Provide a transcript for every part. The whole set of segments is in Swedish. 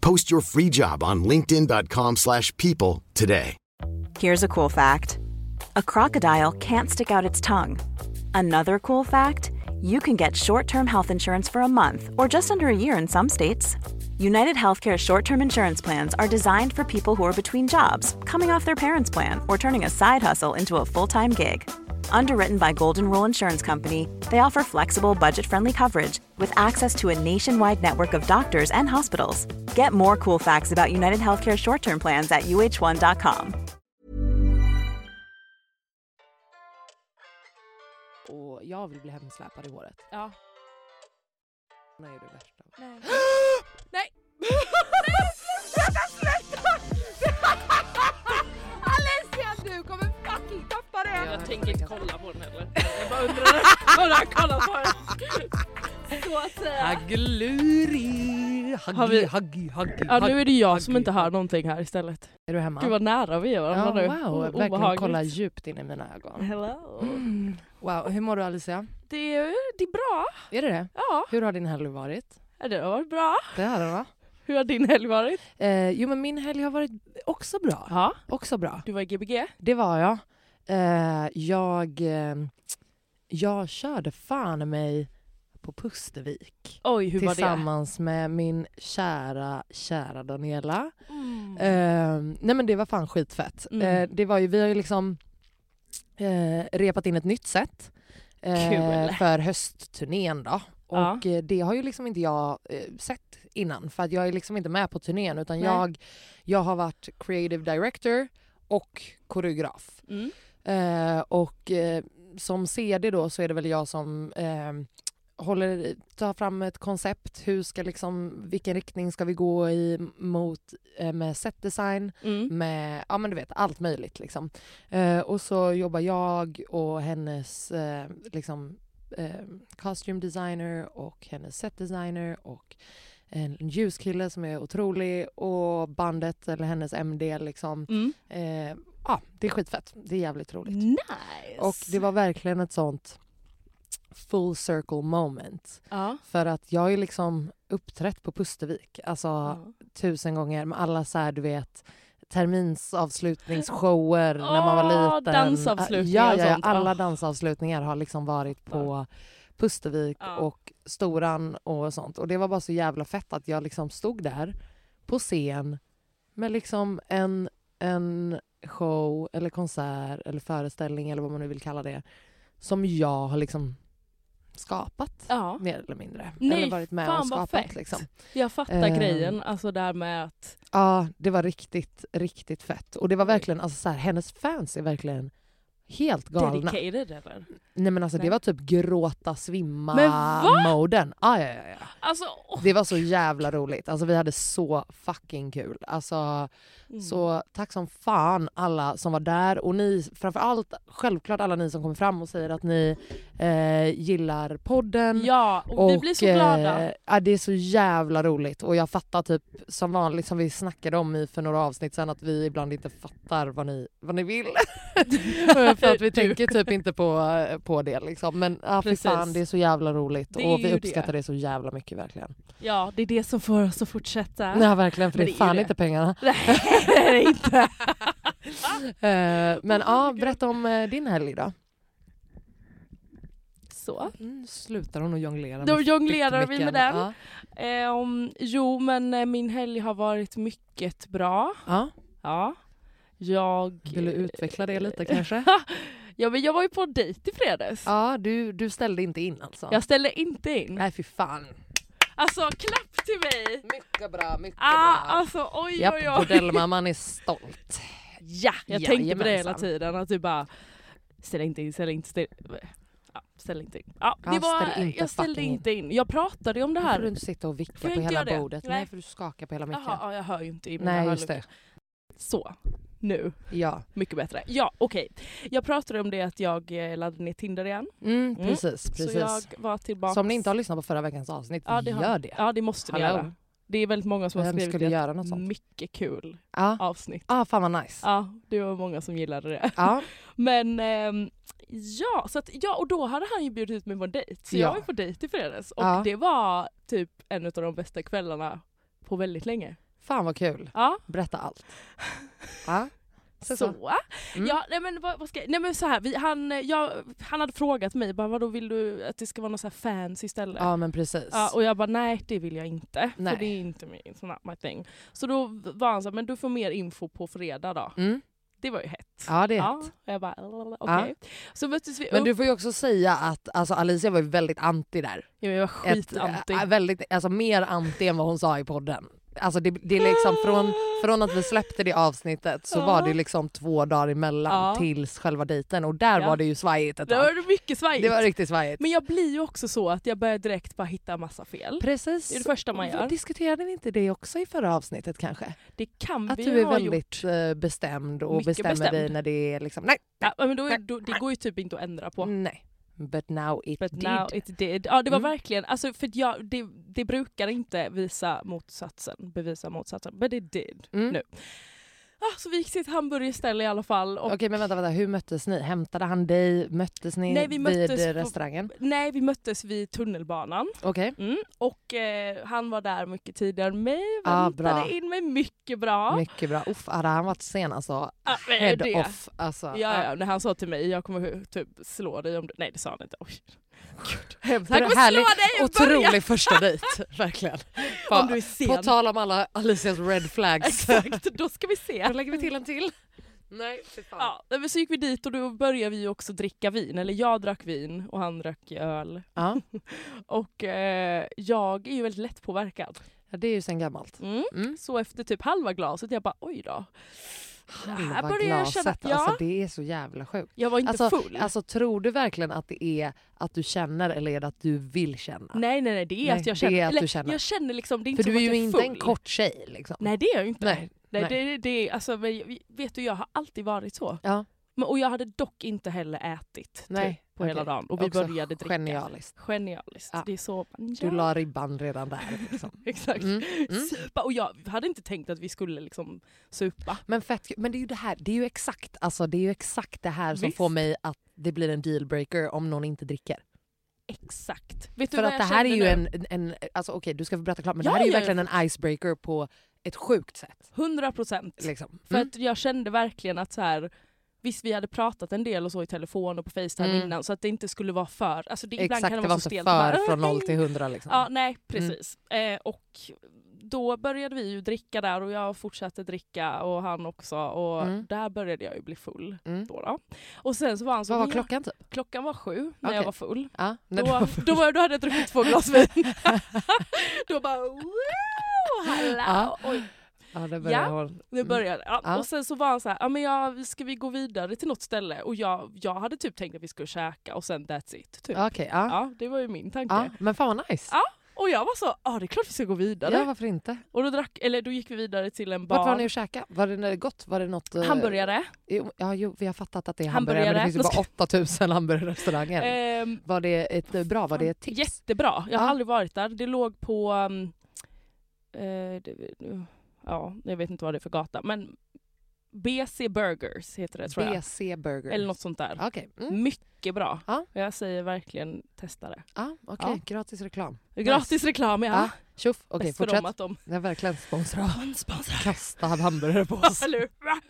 Post your free job on linkedin.com/people slash people today. Here's a cool fact a crocodile can't stick out its tongue. Another cool fact you can get short term health insurance for a month or just under a year in some states. United Healthcare short term insurance plans are designed for people who are between jobs, coming off their parents' plan, or turning a side hustle into a full time gig. Underwritten by Golden Rule Insurance Company, they offer flexible, budget friendly coverage with access to a nationwide network of doctors and hospitals. Get more cool facts about United Healthcare short term plans at uh1.com. och jag vill bli hemsläpad i håret. Ja. Nej, det är värsta. Nej. Nej! sluta, sluta! Alicia, du kommer fucking tappa det! Jag tänker inte kolla på den heller. Jag bara undrar vad han kollar på. Så att eh, säga. Hagluri! Har Haggi, vi- haggi, haggi. Ja, nu är det jag som haggi. inte hör någonting här istället. Är du hemma? Gud vad nära vi är ja, varandra nu. wow, O- verkligen obehagligt. kolla djupt in i mina ögon. Hello. Mm. Wow, hur mår du Alicia? Det är, det är bra. Är det det? Ja, Hur har din helg varit? det har varit bra. Det har den va? Hur har din helg varit? Eh, jo men min helg har varit också bra. Ja, Också bra. du var i Gbg. Det var jag. Eh, jag, eh, jag körde fan i mig på Pustervik. Oj, hur var det? Tillsammans med min kära, kära Daniela. Mm. Eh, nej men det var fan skitfett. Mm. Eh, det var ju, vi har ju liksom eh, repat in ett nytt set eh, Kul. för höstturnén då. Ja. Och eh, det har ju liksom inte jag eh, sett innan för att jag är liksom inte med på turnén utan Nej. jag, jag har varit creative director och koreograf. Mm. Eh, och eh, som CD då så är det väl jag som eh, håller, tar fram ett koncept. Hur ska liksom, vilken riktning ska vi gå i mot eh, med setdesign, Mm. med ja men du vet allt möjligt liksom. Eh, och så jobbar jag och hennes eh, liksom eh, costume designer och hennes setdesigner och en ljuskille som är otrolig och bandet eller hennes MD liksom. Mm. Eh, ja, det är skitfett. Det är jävligt roligt. Nice. Och det var verkligen ett sånt full circle moment. ja. För att jag är liksom uppträtt på Pustervik, alltså tusen gånger med alla så här, du vet terminsavslutningsshower när man Åh, var liten. dansavslutningar ja, och ja, ja, sånt. alla Ah. dansavslutningar har liksom varit på Pustervik Ja. och Storan och sånt. Och det var bara så jävla fett att jag liksom stod där på scen med liksom en, en show eller konsert eller föreställning eller vad man nu vill kalla det som jag har liksom skapat ja. mer eller mindre. Nej, eller varit med fan och vad skapat fett. liksom. Jag fattar Ehm. grejen, alltså där med att... Ja, det var riktigt, riktigt fett. Och det var Oj. verkligen, alltså så här, hennes fans är verkligen helt galna. Dedicated eller? Nej men alltså Nej. det var typ gråta, Men svimma-moden. Ah, ja, ja, ja. Alltså, åh. Det var så jävla roligt. Alltså vi hade så fucking kul. Alltså, Mm. Så tack som fan alla som var där och ni, framförallt självklart alla ni som kommer fram och säger att ni eh, gillar podden. Ja, och, vi blir så glada. eh, ja, det är så jävla roligt och jag fattar typ som vanligt som vi snackade om i för några avsnitt sen att vi ibland inte fattar vad ni, vad ni vill. För att vi tänker typ inte på, på det liksom. Men ah, fy Precis. fan det är så jävla roligt Det är och vi ju uppskattar det. så jävla mycket verkligen. Ja, det är det som får oss att fortsätta. Ja verkligen för det Men är det är ju fan det. inte pengarna. Nej, det är det inte. Eh, Oh men ja, berätta om eh, din helg då. Så. Mm, slutar hon att jonglera Då med jonglerar vi med flyttmicken. den. Ehm, jo, men eh, min helg har varit mycket bra. Ja. Ja. Jag... eh, Ja. Vill du utveckla det lite kanske? Ja, men jag var ju på dejt i fredags. Ja, du, du ställde inte in alltså? Jag ställde inte in. Nej fy fan. Alltså, klapp till mig! Mycket bra, mycket Ah, alltså oj oj Japp, oj. bordellmamman är stolt. Ja, jag tänkte på det hela Jajamensan. tiden. Att du bara, ställ inte in, ställ inte ställ, ja, ställ inte in. Ja, Ja, det var, ställ inte jag ställde fucking in. inte in. Jag pratade ju om det Nu här. får du inte sitta och vicka Får jag på inte hela göra det? bordet. Nej. Nej för du skakar på hela micken. Jaha, ah. ja, jag hör ju inte i mina Nej just hörlurar. det. Så, nu. Ja. Mycket bättre. Ja, okej. Jag pratade om det att jag eh, laddade ner Tinder igen. Mm, precis, Så jag precis. var tillbaka. Så om ni inte har lyssnat på förra veckans avsnitt, Ja, det har- gör det. Ja, det måste ni Hallå. göra. Det är väldigt många som har Vem skrivit skulle det. göra något sånt? Mycket kul Ja. avsnitt. Ah, fan vad nice. Ja, det var många som gillade det. Ja. Men ehm, ja, så att, ja, och då hade han ju bjudit ut mig på en dejt. Så Ja. jag var ju på dejt i fredags och Ja. det var typ en av de bästa kvällarna på väldigt länge. Fan vad kul. Ja, Berätta allt. Ja. Så, så. så. Mm. Ja, nej men vad, vad ska jag, nej men så här, vi, han, eh, jag, han hade frågat mig bara vadå vill du att det ska vara något så här fancy istället? Ja men precis. Ja, och jag bara nej det vill jag inte, Nej. för det är inte min, it's not my thing. Så då var han så här, men du får mer info på fredag då. Mm. Det var ju hett. Ja det är Ja, hett. och jag bara okej. Så möttes vi upp. Men du får ju också säga att alltså, Alicia var ju väldigt anti där. Ja, jag var Ett, skitanti. äh, väldigt, alltså, mer anti än vad hon sa i podden. Alltså, det, det är liksom från, från att vi släppte det avsnittet så Ja. var det liksom två dagar emellan Ja. tills själva dejten och där Ja. var det ju svajigt ett Det tag. var mycket svajigt. Det var riktigt svajigt. Men jag blir ju också så att jag börjar direkt bara hitta massa fel. Precis. Det är det första man gör. Diskuterade vi inte det också i förra avsnittet kanske? Det kan Att vi du är ha gjort. väldigt eh, bestämd och Mycket bestämmer dig bestämd. när det är liksom nej, Ja, men då, är- då, det går ju typ inte att ändra på. nej. But now it But did. now it did. Ja det var Mm. verkligen, alltså för att jag, det, det brukar inte visa motsatsen, bevisa motsatsen. But it did. Mm. Nu. Ah, så vi gick till ett hamburgerställe i alla fall. Och, Okej men vänta, vänta, hur möttes ni? Hämtade han dig? Möttes ni Nej, vi möttes vid eh, på- restaurangen? Nej vi möttes vid tunnelbanan. Okej. Mm. Och eh, han var där mycket tidigare än mig, Ah, väntade bra. in mig mycket bra. Mycket bra. Uff, hade han varit sen alltså, Ja, men head det- off. Alltså, Ja, ja, när han sa till mig jag kommer typ slå dig om du... Nej det sa han inte. Oj. Hem- Jag kommer slå härlig, dig i början otrolig första dejt, verkligen. om du är på sen. tal om alla Alicias red flags. Exakt, då ska vi Då se. lägger vi till en till. Nej, fy fan. Ja, men så gick vi dit och då började vi ju också dricka vin. Eller jag drack vin och han drack öl. Ja. Och eh, jag är ju väldigt lättpåverkad. Ja, det är ju sen gammalt. Mm. Mm. Så efter typ halva glaset jag bara oj då. Halva börjar jag känna- glaset, ja. alltså, det är så jävla sjukt. Jag var inte Alltså, full. alltså, tror du verkligen att det är att du känner eller är det att du vill känna? nej nej nej det är Nej, att jag det känner. är att eller, du känner. Jag känner liksom, det är inte För du som är att jag ju inte full. en kort tjej. Liksom. Nej det är jag ju inte. Nej. Nej, Nej. Det, det, alltså, men, vet du, jag har alltid varit så. Ja. Men, och jag hade dock inte heller ätit Nej, Typ, på hela okej. dagen. Och vi Också började dricka. Genialiskt. Genialiskt. Ja. Det är så man Du gör. la ribban redan där. Liksom. Exakt. Mm, mm. Supa. Och jag hade inte tänkt att vi skulle liksom supa. Men, fett, kul. men det är ju det här, det är ju exakt, alltså, det är ju exakt det här som Visst. får mig att det blir en dealbreaker om någon inte dricker. Exakt. Vet du För vad att jag det här är kände ju en, nu? en, en alltså okej du ska få berätta klart men Ja, det här är ju ja, ja. verkligen en icebreaker på ett sjukt sätt. 100 procent. Liksom. För Mm. att jag kände verkligen att så här, visst vi hade pratat en del och så i telefon och på Facetime Mm. innan så att det inte skulle vara för. Alltså det, ibland Exakt, kan det var vara inte så för stelt. Bara, "Äh, från hej, 0 till 100 liksom. Ja, nej precis. Eh, och då började vi ju dricka där och jag fortsatte dricka och han också och Mm. där började jag ju bli full. Mm. Då då. Och sen så var han så, Vad var "Men klockan typ? jag, klockan var sju när jag Okej. var full. Ja, när Då, du var då, var, då hade jag druckit två glas vin. då bara wow, hallå. Ja. Oj, ja, det började Ja. hon. det började. Ja. Ja. Och sen så var han så här, ja, men jag, ska vi gå vidare till något ställe? Och jag, jag hade typ tänkt att vi skulle käka och sen that's it. Typ. Ja, Okej, ja. Ja. Ja, det var ju min tanke. Men fan vad nice. Ja, Och jag var så, ja ah, det är klart vi ska gå vidare. Ja, varför inte? Och då, drack, eller då gick vi vidare till en Vart var ni bar. och käkade? Var det gott? Var det något? eh, Hamburgare. Jo, ja, jo, vi har fattat att det är hamburgare, Hamburgare. men det finns ju Då bara 8000 hamburgerrestauranger. Ehm, Var det ett eh, bra? Var det ett tips? jättebra. Jag har Ja. aldrig varit där. Det låg på... Um, eh, det, ja, jag vet inte vad det är för gata. Men BC Burgers heter det tror jag. BC Burger. Eller något sånt där. Okej, mm. Mycket bra. Ja. Jag säger verkligen testa det. ah, okej. Ja. gratis reklam. Gratis reklam ja. Ah, tjoff, okej Bäst för fortsätt. dem att de Jag är verkligen sponsrad. sponsrar. Kasta hamburgare på oss. Eller hur? Va?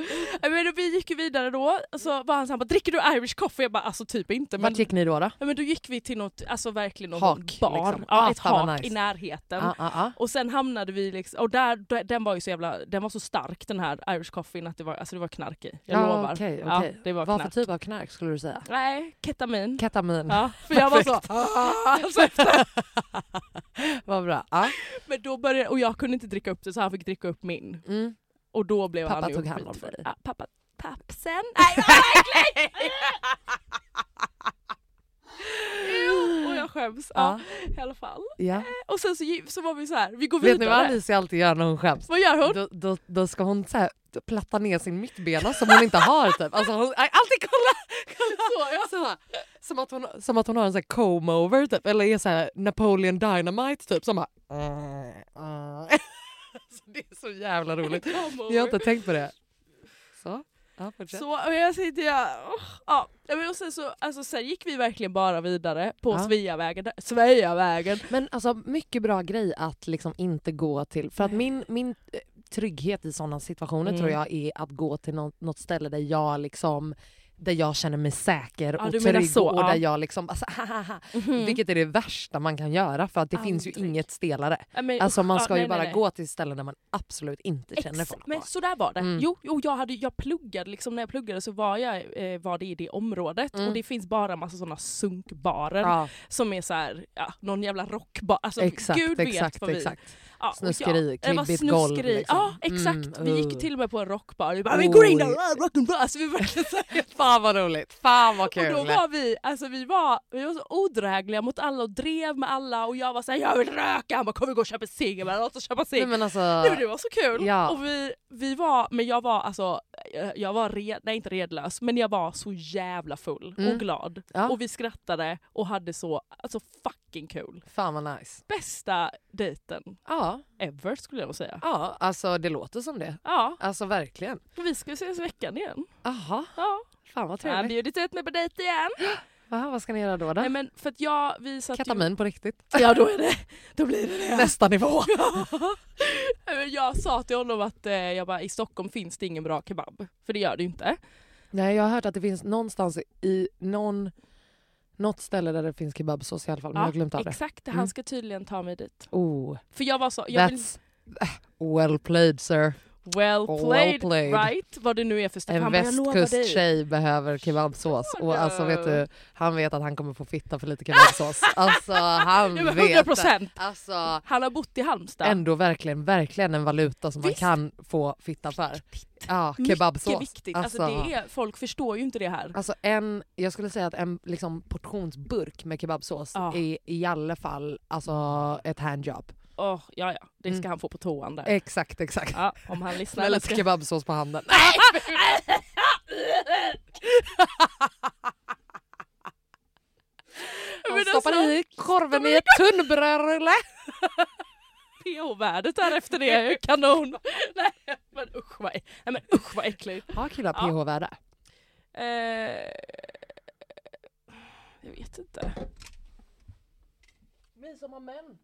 Nej, Men vi gick ju vidare då, så var han så här, bara, dricker du Irish coffee? Jag bara alltså typ inte. Men, Vart gick ni då? då? Ja, men då gick vi till något, alltså verkligen någon Hak, bar. liksom. Ja, Ah, ett fan vad hak i nice. närheten. Ah, ah, ah. Och sen hamnade vi liksom, och där, där- den var ju så jävla, den var så stark den här Irish coffeen att det var, alltså det var knark i. Jag lovar. Ah, okej, Ja, okej. det var Vad knark. för typ av knark skulle du säga? Nej, ketamin. Ketamin. ja, för jag var så, alltså efter, Vad bra. Ah. men då började, och jag kunde inte dricka upp det så han fick dricka upp min. Mm. Och då blev Pappa han ju tog hand om skitfull. dig. Ja, pappa, pappsen. Nej vad äckligt! Jo, och jag skäms. Ja, Ah. i alla fall. Ja. Och sen så, gi- så var vi så här, vi går Vet ni vad vidare. Alicia alltid gör när hon skäms? vad gör hon? Då, då, då ska hon så här, platta ner sin mittbena som hon inte har. Typ. Alltså hon, aj, alltid kolla! kolla. Så, ja. så här, som, att hon, som att hon har en sån här comb-over typ, eller är så här Napoleon Dynamite typ. Som bara, "Äh, så det är så jävla roligt. Come Jag har over. inte tänkt på det. Så, ja, fortsätt. Så, och jag sitter jag... åh, ja. Ja, men och sen, så, alltså, sen gick vi verkligen bara vidare på Ja. Sveavägen. där- Sveavägen! Men alltså mycket bra grej att liksom inte gå till. För att min, min eh, trygghet i sådana situationer Mm. tror jag är att gå till något, något ställe där jag liksom där jag känner mig säker Ja, och du menar trygg så, och ja. Mhm. där jag liksom, alltså, hahaha, vilket är det värsta man kan göra för att det finns ju Aldrig. inget stelare. Ja, men, Alltså usch, man ja, ska nej, ju nej, bara nej. gå till ställen där man absolut inte känner Ex- folk. men så där var det. Mm. Jo, jo jag, hade, jag pluggade, liksom, när jag pluggade så var jag eh, var det i det området Mm. och det finns bara massa sådana sunkbarer ja, som är så här, ja, någon jävla rockbar. Alltså, exakt, gud exakt, vet vad vi... exakt. Ja, och Snuskeri, ja, det var klibbigt golv, snuskeri. liksom. Ja, exakt. Mm, vi gick uh. till och med på en rockbar. Vi bara, vi går in där, Oj. ah, rock'n'roll! Alltså, vi var verkligen så här, Fan vad roligt, fan vad kul! Och då var vi, alltså vi var, vi var så odrägliga mot alla och drev med alla och jag var såhär jag vill röka, han bara kom vi gå och köpa cigg, Jag bara, låt oss köpa Nej, cigg. men alltså, Nej, men det var så kul! Ja. Och vi, vi var, men jag var alltså, eh, jag var red, nej inte redlös, men jag var så jävla full Mm. och glad. Ja. Och vi skrattade och hade så, alltså fucking kul. fan vad nice. Bästa dejten Ja, ever skulle jag nog säga. ja, alltså det låter som det. Ja, Alltså verkligen. och vi ska ses i veckan igen. Aha, Ja. fan vad Jag har trevligt. bjudit ut mig på dejt igen. Aha, vad ska ni göra då? då? Nej men för att jag, vi satt ju... Ketamin på riktigt. Ja då är det, då blir det det. Nästa nivå. Nej, men Jag sa till honom att eh, jag bara, i Stockholm finns det ingen bra kebab. För det gör det ju inte. Nej, jag har hört att det finns någonstans i någon, något ställe där det finns kebabsås i alla fall, men jag har glömt av det. exakt, Mm. han ska tydligen ta mig dit. Oh, För jag var så, jag vill, that's well played sir. well played, played. right? Vad det nu är för ställe. En Han bara, jag lovar dig. västkusttjej behöver kebabsås och alltså vet du, han vet att han kommer få fitta för lite kebabsås. Alltså han Ja, men vet 100%. det. Alltså Han har bott i Halmstad. ändå verkligen, verkligen en valuta som Visst. man kan få fitta för. Ja, kebabsås. Mycket viktigt. Alltså, det är, folk förstår ju inte det här. Alltså en, jag skulle säga att en liksom, portionsburk med kebabsås Ja. är i alla fall alltså, ett handjob. Åh, ja, ja. Det ska Mm. han få på toan där. Exakt, exakt. Ja, om han lyssnar. Med eller lite ska... kebabsås på handen. Han Men stoppar alltså, i korven i ett tunnbrödsrulle. PH-värdet här efter det är ju kanon. Nej men usch vad, nej, men, usch, vad äckligt. Har killar Ja. pH-värde? Eh, jag vet inte. Vi som har män,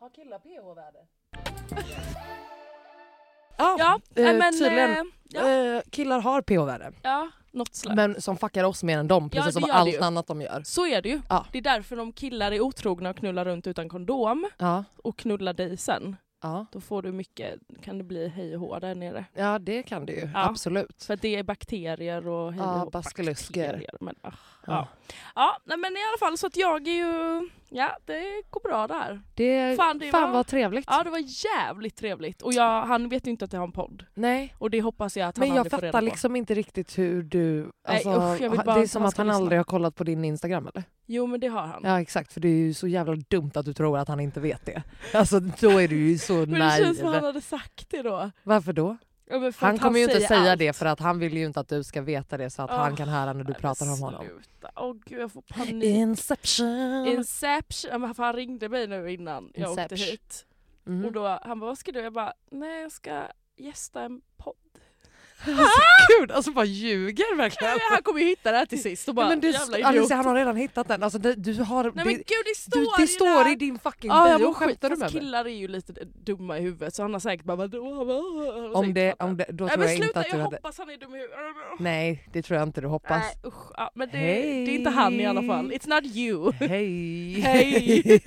har killar pH-värde? Ja, Ja, nej, eh, men, tydligen. eh, ja. Eh, killar har pH-värde, ja, något slags. men som fuckar oss mer än dem, precis det som gör det allt ju. annat de gör. Så är det ju. Ja. Det är därför de killar är otrogna och knullar runt utan kondom Ja, och knullar dig sen. ja. Då får du mycket, kan det bli hej och hå där nere. ja det kan det ju. Ja. Absolut. För att det är bakterier och hej och Ja, hå. baskelusker. Bakterier, Men, ah, ja. Ja. Ja, nej, men i alla fall så att jag är ju, ja det går bra där. Det, Fan, fan det var- vad trevligt. Ja det var jävligt trevligt och jag, han vet ju inte att jag har en podd. Nej. Och det hoppas jag att han Men jag aldrig får reda fattar på. liksom inte riktigt hur du... Nej, Alltså, usch, jag vill ha- bara det är att som han att ska han lyssna. Mm. aldrig har kollat på din Instagram eller? Jo men det har han. Ja exakt, för det är ju så jävla dumt att du tror att han inte vet det. Alltså då är du ju så Men det känns naiv. som han hade sagt det då. Varför då? Ja, men för Han att kommer ju inte säger säga allt. det för att han vill ju inte att du ska veta det så att Åh, han kan höra när du Nej, pratar men om honom. Sluta. Åh gud jag får panik. Inception! Inception. Ja, men för han ringde mig nu innan jag åkte Inception. hit. Mm. Och då, han bara vad ska du? Jag bara nej jag ska gästa en podd. Alltså, Ah! gud, alltså bara ljuger verkligen. Han kommer ju hitta det här till sist och bara Nej, men du, jävla idiot. Alice, han har redan hittat den. Alltså, det, du har, Nej men gud det, det du, står det ju står där. i din fucking Ja, jag bio, mår skit. skämtar du Fast med mig? killar är ju lite dumma i huvudet så han har säkert bara vadå? Alltså, Om det, om det, då Nej tror men jag inte sluta, att jag du hade... hoppas han är dum i huvudet. Nej, det tror jag inte du hoppas. Nej, usch, ja, men det, Hej. det är inte han i alla fall. It's not you. Hej! Hej.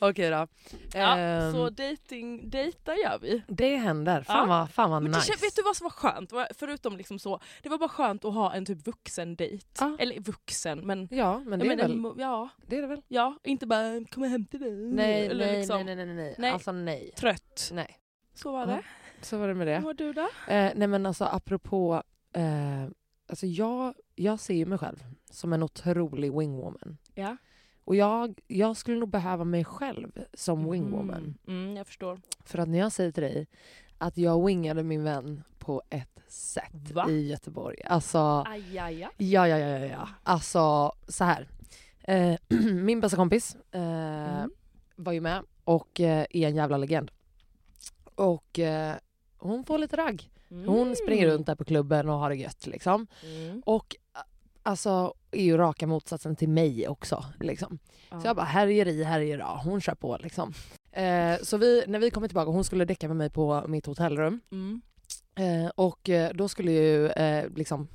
Okej då. Ja, Ehm, så dating, dejta gör vi. Det händer. Fan Ja. vad, fan vad Men det, nice. kän- vet du vad som var skönt? Va- Förutom liksom så, det var bara skönt att ha en typ vuxen dejt. Ja. Eller vuxen, men... Ja, men det, jag är menar, väl, mo- ja, det är det väl? ja, inte bara kommer hem till dig. eller liksom nej, nej, nej, Nej. Alltså nej. trött. Nej. Så var Ja, det. Så var det med det. Hur var du då? Eh, nej men alltså apropå, eh, alltså jag, jag ser ju mig själv som en otrolig wingwoman. Ja. Och jag, jag skulle nog behöva mig själv som wingwoman. Mm, mm, jag förstår. För att när jag säger till dig att jag wingade min vän på ett sätt Va? i Göteborg. Alltså, Aj, aj, aj. Ja, ja, ja, ja, ja. Alltså så här. Eh, min bästa kompis eh, Mm. var ju med och eh, är en jävla legend. Och eh, hon får lite ragg. Hon springer runt där på klubben och har det gött liksom. Mm. Och eh, alltså är ju raka motsatsen till mig också liksom. Så jag bara härjeri, härjera. Hon kör på liksom. Eh, så vi, när vi kommer tillbaka, hon skulle däcka med mig på mitt hotellrum. Mm. Eh, och eh, då skulle ju eh, liksom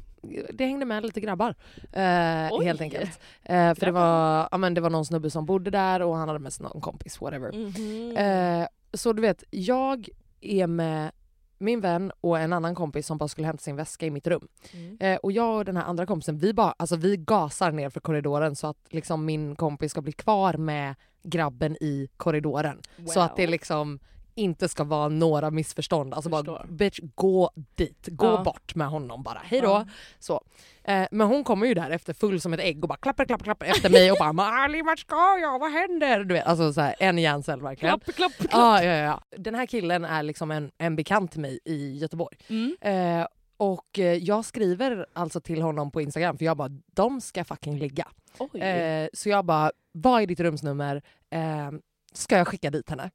det hängde med lite grabbar eh, Oj. helt enkelt. Eh, för det var, ja, men det var någon snubbe som bodde där och han hade med sig någon kompis, whatever. Mhm. Eh, så du vet, jag är med min vän och en annan kompis som bara skulle hämta sin väska i mitt rum. Mm. Eh, och jag och den här andra kompisen, vi, bara, alltså, vi gasar ner för korridoren så att liksom, min kompis ska bli kvar med grabben i korridoren. Så att det Wow. liksom inte ska vara några missförstånd. Alltså bara, Förstår. bitch, gå dit. Gå Ja. bort med honom bara. Hej då. Ja. Så. Eh, men hon kommer ju där efter full som ett ägg och bara klappar, klappar, klappar efter mig och bara Mali, vart ska jag? Vad händer? Du vet, alltså så här, en hjärncell verkligen. Klapp, klapp, klapp. Ja, ja, ja. Den här killen är liksom en, en bekant till mig i Göteborg. Mm. Eh, och eh, jag skriver alltså till honom på Instagram för jag bara, de ska fucking ligga. Oj. Eh, så jag bara, vad är ditt rumsnummer? Eh, ska jag skicka dit henne?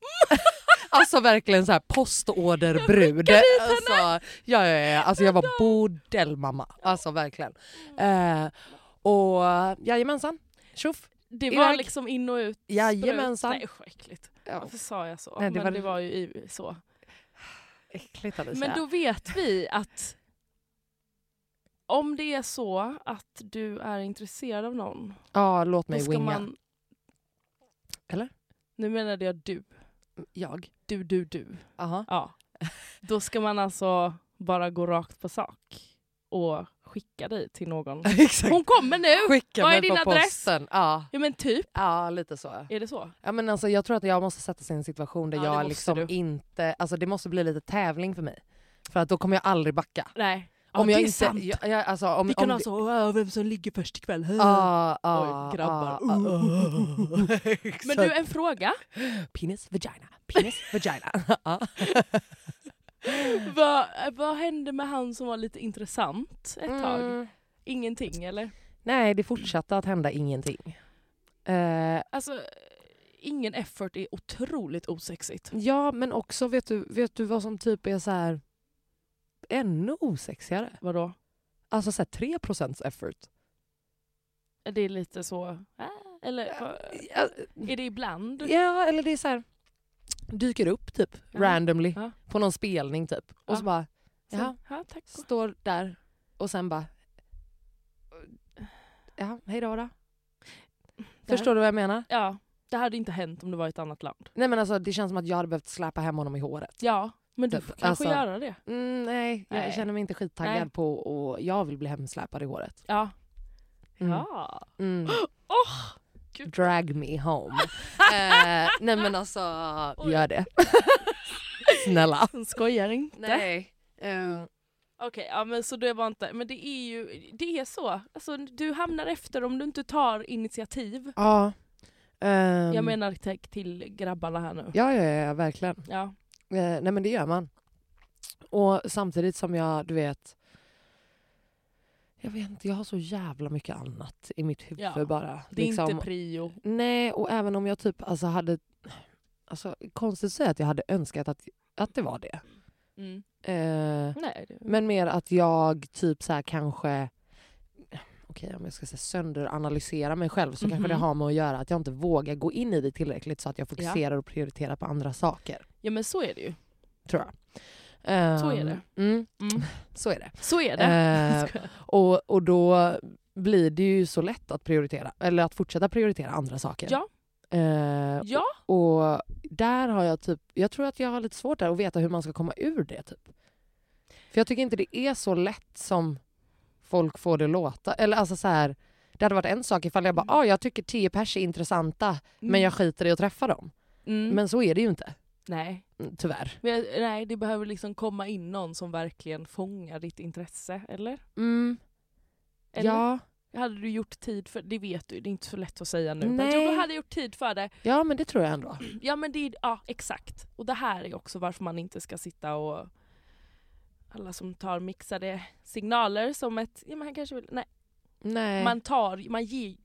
alltså verkligen så här postorderbrud. Alltså, ja, ja, ja. Alltså, jag var bordellmamma. Alltså verkligen. Eh, och jajamensan, tjoff. det var iväg. liksom in och ut. Jajamensan. sprut. Nej usch vad äckligt. Ja, Varför sa jag så? Nej, det det Men var- var... det var ju i- så. äckligt Alicia. Men då vet vi att om det är så att du är intresserad av någon, Ja, låt då mig ska winga. man... Eller? Nu menade jag du. Jag? Du, du, du. Aha. Ja. Då ska man alltså bara gå rakt på sak och skicka dig till någon. Exakt. Hon kommer nu! Skicka Vad mig är din på adress? posten. Ja. Ja men typ, ja, lite så. är det så? Ja, men alltså, jag tror att jag måste sätta sig i en situation där Ja, det jag måste liksom du. inte... Alltså, det måste bli lite tävling för mig. För att då kommer jag aldrig backa. Nej. om ja, jag det är inte, sant. Jag, jag, alltså, om, Vi kan om ha så, "Åh, vem som ligger först ikväll. Ah, ah, Oj, grabbar. Mm. ah, ah, ah. Men du, en fråga. penis, vagina, penis, vagina. Ja. Vad, vad hände med han som var lite intressant ett tag? Mm. Ingenting eller? Nej, det fortsatte att hända ingenting. Eh, Alltså, ingen effort är otroligt osexigt. ja, men också vet du, vet du vad som typ är så här ännu osexigare? Vadå? Alltså så här 3% effort. Är det lite så... äh, Eller vad- Ja, är det ibland? Ja, eller det är så här dyker upp typ Ja. randomly Ja. på någon spelning typ. Och så Ja. bara Så, Jaha. ja, tack. står där och sen bara... Ja, hej då. då. Förstår du vad jag menar? Ja, det hade inte hänt om det var i ett annat land. Nej men alltså det känns som att jag hade behövt släpa hem honom i håret. Ja, men du Typ, får kanske alltså- göra det. Mm, nej, jag Nej. känner mig inte skittaggad Nej. på och jag vill bli hemsläpad i håret. Ja. Mm. Ja. Mm. Åh, Oh, gud. Drag me home. eh, nej men alltså, gör det. Snälla. Hon skojar inte. Nej. Eh, Okej, ja, men så det var inte... Men det är ju det är så. Alltså, du hamnar efter om du inte tar initiativ. Ja. Ehm, Jag menar till, till grabbarna här nu. Ja, ja, ja, verkligen. Ja. Eh, nej men det gör man. Och samtidigt som jag, du vet... Jag vet inte, jag har så jävla mycket annat i mitt huvud Ja, bara. Det är liksom. inte prio. Nej, och även om jag typ alltså hade... Alltså, konstigt att säga att jag hade önskat att, att det var det. Mm. Eh, Nej, det... men mer att jag typ så här kanske... Okej, om jag ska säga sönderanalysera mig själv så kanske det Mhm. har med att göra att jag inte vågar gå in i det tillräckligt så att jag fokuserar och prioriterar på andra saker. ja men så är det ju. Tror jag. Så är Eh, det. Mm, Mm. så är det. Så är det. Eh, Skojar. och, och då blir det ju så lätt att prioritera, eller att fortsätta prioritera andra saker. Ja. Eh, ja, och där har jag typ, jag tror att jag har lite svårt där att veta hur man ska komma ur det. typ. För jag tycker inte det är så lätt som folk får det låta. Eller alltså så här, det hade varit en sak ifall jag bara, Mm. ah, jag tycker tio pers är intressanta men jag skiter i att träffa dem. mm. Men så är det ju inte, nej. mm, tyvärr. Men, jag- nej, det behöver liksom komma in någon som verkligen fångar ditt intresse, eller? Mm, eller? ja, Hade du gjort tid för det? vet du, det är inte så lätt att säga nu. Men Nej. jag hade gjort tid för det. ja, men det tror jag ändå. Ja men det är, ja exakt. Och det här är också varför man inte ska sitta och alla som tar mixade signaler som ett, ja men han kanske vill, nej. Nej. Man tar, man ger,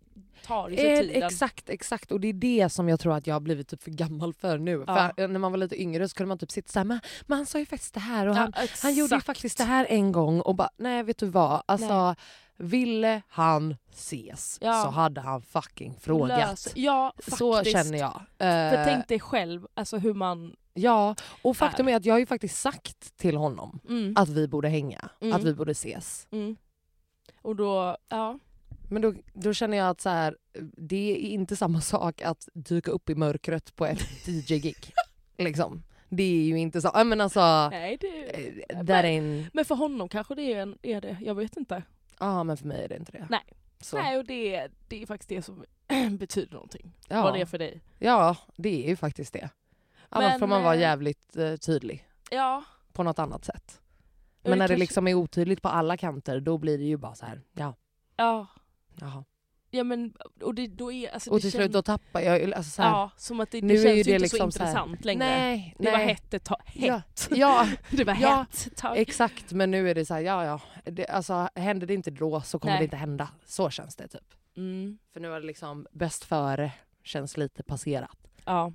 tar ju sig Eh, tiden. Exakt, exakt. Och det är det som jag tror att jag har blivit typ för gammal för nu. Ja. För eh, när man var lite yngre så kunde man typ sitta såhär, men, men han sa ju faktiskt det här och Ja, han, han gjorde ju exakt. faktiskt det här en gång och bara, nej vet du vad, alltså ville han ses Ja. så hade han fucking frågat. Lös- Ja faktiskt. Så känner jag. För Eh, tänk dig själv, alltså hur man, ja, och faktum är att jag har ju faktiskt sagt till honom mm, att vi borde hänga, Mm. att vi borde ses. mm. Och då, ja. Men då, då känner jag att så här, det är inte samma sak att dyka upp i mörkret på ett DJ-gig. liksom. Det är ju inte så. Ja, Men alltså, Nej det, eh, där är en... men för honom kanske det är, en, är det, jag vet inte. Ja, men för mig är det inte det. Nej. Så. Nej och det, det är faktiskt det som betyder någonting. ja. Vad det är för dig. ja, det är ju faktiskt det. Annars Men, får man vara eh, jävligt eh, tydlig Ja. på något annat sätt. och Men när det kanske- liksom är otydligt på alla kanter då blir det ju bara så här, ja, Ja. jaha. Ja men och det, då är alltså, Och det till känns- slut då tappar jag alltså så här, Ja, som att det, det Nu är känns ju ju inte det så liksom så här, intressant längre. nej, det nej. var hett ett tag. Ja, Hett. ja, Det var Ja, hett ett tag. Exakt, men nu är det så här, ja ja. Det, alltså, händer det inte då så kommer Nej. det inte hända. Så känns det typ. Mm, För nu har det liksom bäst före känns lite passerat. ja.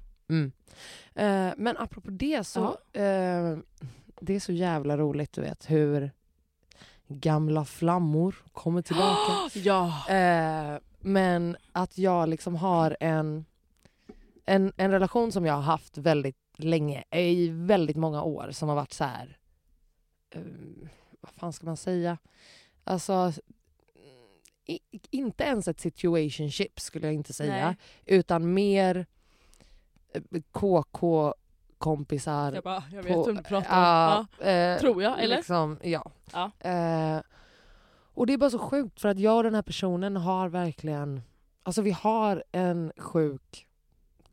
Eh, men apropå det så, eh, det är så jävla roligt du vet hur gamla flammor kommer tillbaka. ja. Eh, men att jag liksom har en, en, en relation som jag har haft väldigt länge, eh, i väldigt många år, som har varit så här... Eh, vad fan ska man säga? Alltså... mm, I, inte ens ett situationship skulle jag inte säga. Nej. Utan mer eh, KK-kompisar. Jag bara, jag vet på- vem du pratar om. ja, Ja, eh, tror jag, eller? Liksom, ja. Ja. Eh, och det är bara så sjukt för att jag och den här personen har verkligen, alltså vi har en sjuk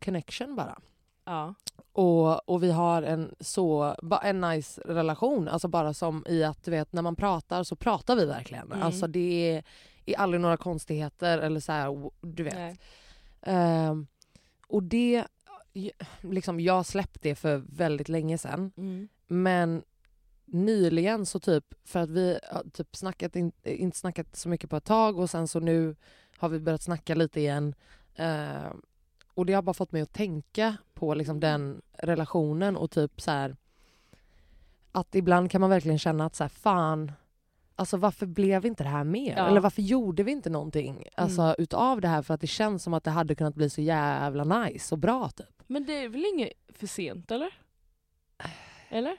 connection bara. Ja. Och, och vi har en så, ba- en nice relation, alltså bara som i att du vet när man pratar så pratar vi verkligen. Mm. Alltså det är, är aldrig några konstigheter eller så här, w- du vet. Nej. Ehm, och det, j- liksom jag släppte det för väldigt länge sedan. Mm. Men nyligen så typ, för att vi har typ snackat, in, inte snackat så mycket på ett tag och sen så nu har vi börjat snacka lite igen. Eh, och det har bara fått mig att tänka på liksom den relationen och typ så här att ibland kan man verkligen känna att så här, fan, alltså varför blev inte det här mer? Ja. Eller varför gjorde vi inte någonting alltså, utav det här? För att det känns som att det hade kunnat bli så jävla nice och bra typ. Men det är väl inget för sent eller? Eller?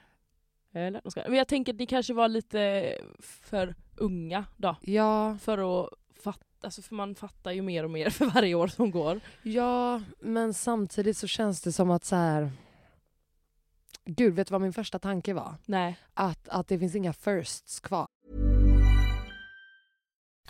Eller? Jag skojar. Men jag tänker att ni kanske var lite för unga då. Ja, För att fatta, alltså för man fattar ju mer och mer för varje år som går. Ja, men samtidigt så känns det som att så här... Gud, vet du vad min första tanke var? Nej. Att, att det finns inga firsts kvar.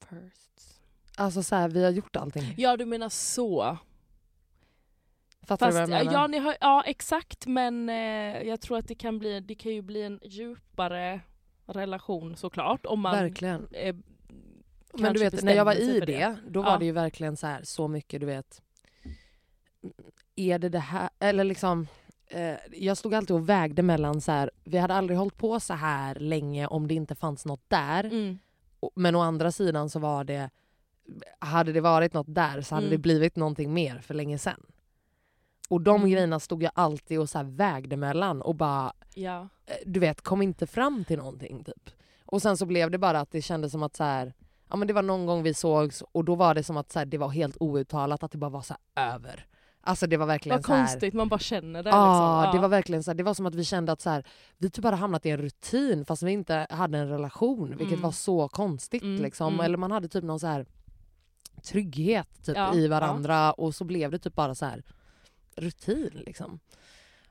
First. Alltså så här, vi har gjort allting. Ja, du menar så. Fattar Fast, du vad jag menar? ja, ni har, ja, exakt. Men eh, jag tror att det kan, bli, det kan ju bli en djupare relation såklart. Om man Verkligen. eh, Men du kanske vet, när jag var bestämde sig i för det, det. då Ja. var det ju verkligen så här, så mycket du vet. Är det det här, eller liksom. Eh, jag stod alltid och vägde mellan så här, vi hade aldrig hållit på så här länge om det inte fanns något där. mm, Och- Men å andra sidan så var det, hade det varit något där så hade Mm. det blivit någonting mer för länge sedan. Och de Mm. grejerna stod jag alltid och så här vägde mellan och bara, ja. eh, du vet, kom inte fram till någonting typ. Och sen så blev det bara att det kändes som att så här, ja men det var någon gång vi sågs och då var det som att så här, det var helt outtalat att det bara var så här över. Alltså det var verkligen Vad så här, konstigt, man bara känner det. Ja, liksom. det var verkligen så här, det var som att vi kände att så här, vi typ hade hamnat i en rutin fast vi inte hade en relation, vilket Mm. var så konstigt. Mm, Liksom. mm. Eller man hade typ någon så här trygghet typ, Ja, i ja. varandra och så blev det typ bara så här rutin. Liksom.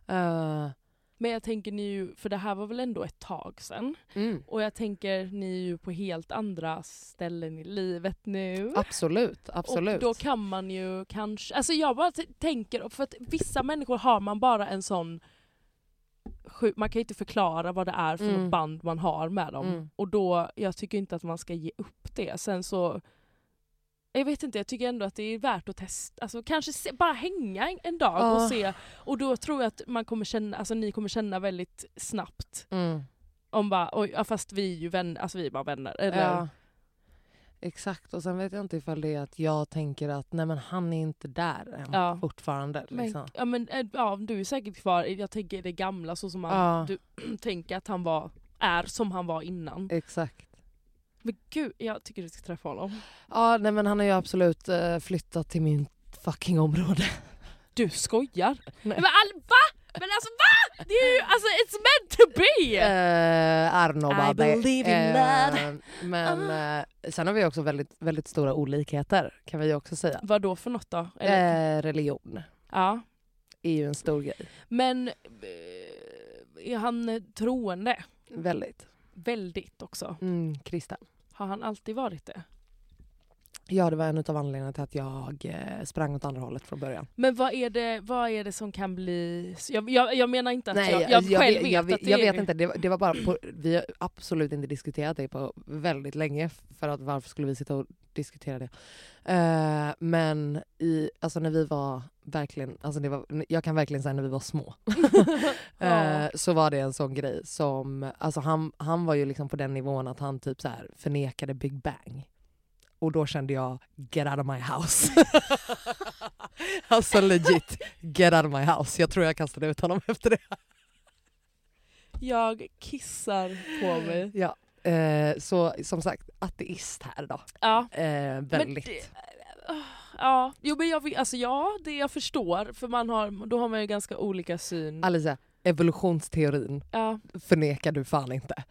Eh, Men jag tänker ni ju, för det här var väl ändå ett tag sedan. mm, Och jag tänker ni är ju på helt andra ställen i livet nu. absolut, absolut. Och då kan man ju kanske, alltså jag bara t- tänker, för att vissa människor har man bara en sån sjuk- man kan ju inte förklara vad det är för Mm. något band man har med dem. Mm. Och då, jag tycker inte att man ska ge upp det. Sen så, jag vet inte, jag tycker ändå att det är värt att testa. Alltså kanske se, bara hänga en- en dag Ja. och se. Och då tror jag att man kommer känna, alltså ni kommer känna väldigt snabbt mm. om bara, oj, ja, fast vi är ju vänner, alltså vi är bara vänner. Eller, Ja. Exakt, och sen vet jag inte ifall det är att jag tänker att nej men han är inte där än Ja. fortfarande. Men, Liksom. ja, men, eh, ja, du är säkert kvar, jag tänker det gamla så som man Ja. du, tänker att han var, är som han var innan. Exakt. Men gud, jag tycker du ska träffa honom. Ja, nej men han har ju absolut eh, flyttat till min fucking område. Du skojar! Nej. Men all, va? Men alltså va? Det är ju, alltså it's meant to be! Eh, I don't know I about that. believe in Ah. Eh, Men eh, sen har vi också väldigt, väldigt stora olikheter kan vi ju också säga. Vad då för något då? Eller, Eh, religion ja. är ju en stor grej. Men eh, är han eh, troende? Väldigt. Väldigt också. Mm, kristen. Har han alltid varit det? Ja, det var en av anledningarna till att jag eh, sprang åt andra hållet från början. Men vad är det, vad är det som kan bli... så Jag, jag, jag menar inte att jag, jag, alltså, jag själv vet- vet jag, att det jag är... vet inte, det var, det var bara på, vi har absolut inte diskuterat det på väldigt länge för att varför skulle vi sitta och diskutera det? Eh, men i, alltså när vi var verkligen, alltså det var, jag kan verkligen säga när vi var små, eh, Ja. så var det en sån grej som, alltså han, han var ju liksom på den nivån att han typ så här förnekade Big Bang. Och då kände jag, get out of my house. alltså legit, get out of my house. Jag tror jag kastade ut honom efter det. Jag kissar på mig. Ja. Eh, så som sagt, ateist här då. Ja. Eh, väldigt. Men det, ja, jo men jag, vet- alltså ja, det jag förstår för man har, då har man ju ganska olika syn. Alicia, evolutionsteorin ja. förnekar du fan inte.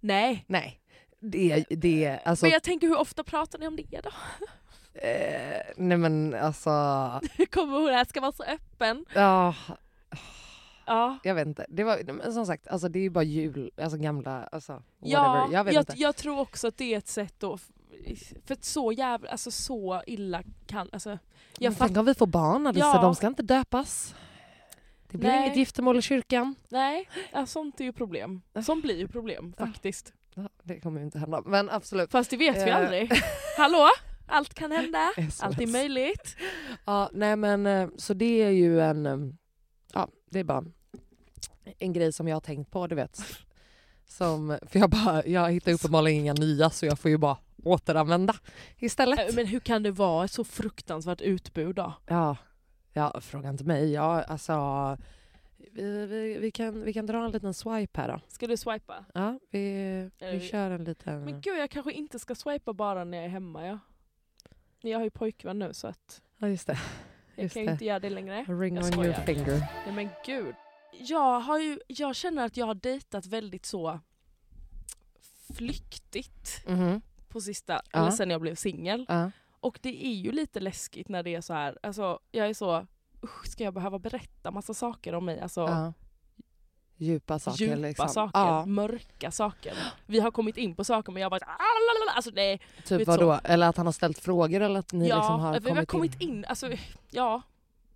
Nej. Eh, Nej. Det, det, alltså, Men jag tänker hur ofta pratar ni om det då? eh, nej men alltså, Hur kommer hon här ska vara så öppen? ja, Ja. jag vet inte. Det var, nej, men som sagt, alltså, det är ju bara jul, alltså gamla, alltså whatever. Ja, jag vet jag, inte. jag tror också att det är ett sätt då för att så jävla, alltså så illa kan, alltså jag Men fattar Tänk om vi får barn Alicia, Ja. de ska inte döpas. Det blir Nej. inget giftermål i kyrkan. Nej, ja, sånt är ju problem. Sånt blir ju problem faktiskt. Ja, Det kommer ju inte hända, men absolut. Fast det vet vi Eh. aldrig. Hallå? Allt kan hända. Allt Äh. är SOS. möjligt. Ja, nej men eh, så det är ju en, eh, ja det är bara en grej som jag har tänkt på du vet. Som, för jag, bara, jag hittar uppenbarligen inga nya så jag får ju bara återanvända Eh, istället. Men hur kan det vara ett så fruktansvärt utbud då? Ja, ja fråga inte mig. Ja, alltså, vi, vi, vi, kan, vi kan dra en liten swipe här då. Ska du swipa? Ja, vi, vi Eh, kör en liten... Men gud jag kanske inte ska swipa bara när jag är hemma ja. Men Jag har ju pojkvän nu så att Ja, just det. Jag Just kan ju det. inte göra det längre. Ring Jag on your skojar. finger. Nej men gud. Jag, har ju, jag känner att jag har dejtat väldigt så flyktigt Mhm. på sista, Ja. eller sen jag blev singel. Ja. Och det är ju lite läskigt när det är så här. Alltså, jag är så, usch ska jag behöva berätta massa saker om mig? Alltså, Ja. Djupa saker. djupa liksom. saker, Ja. mörka saker. Vi har kommit in på saker men jag har varit alltså nej. Typ Vet vad så. då? Eller att han har ställt frågor eller att ni ja, liksom har vi kommit, har kommit in. alltså, ja,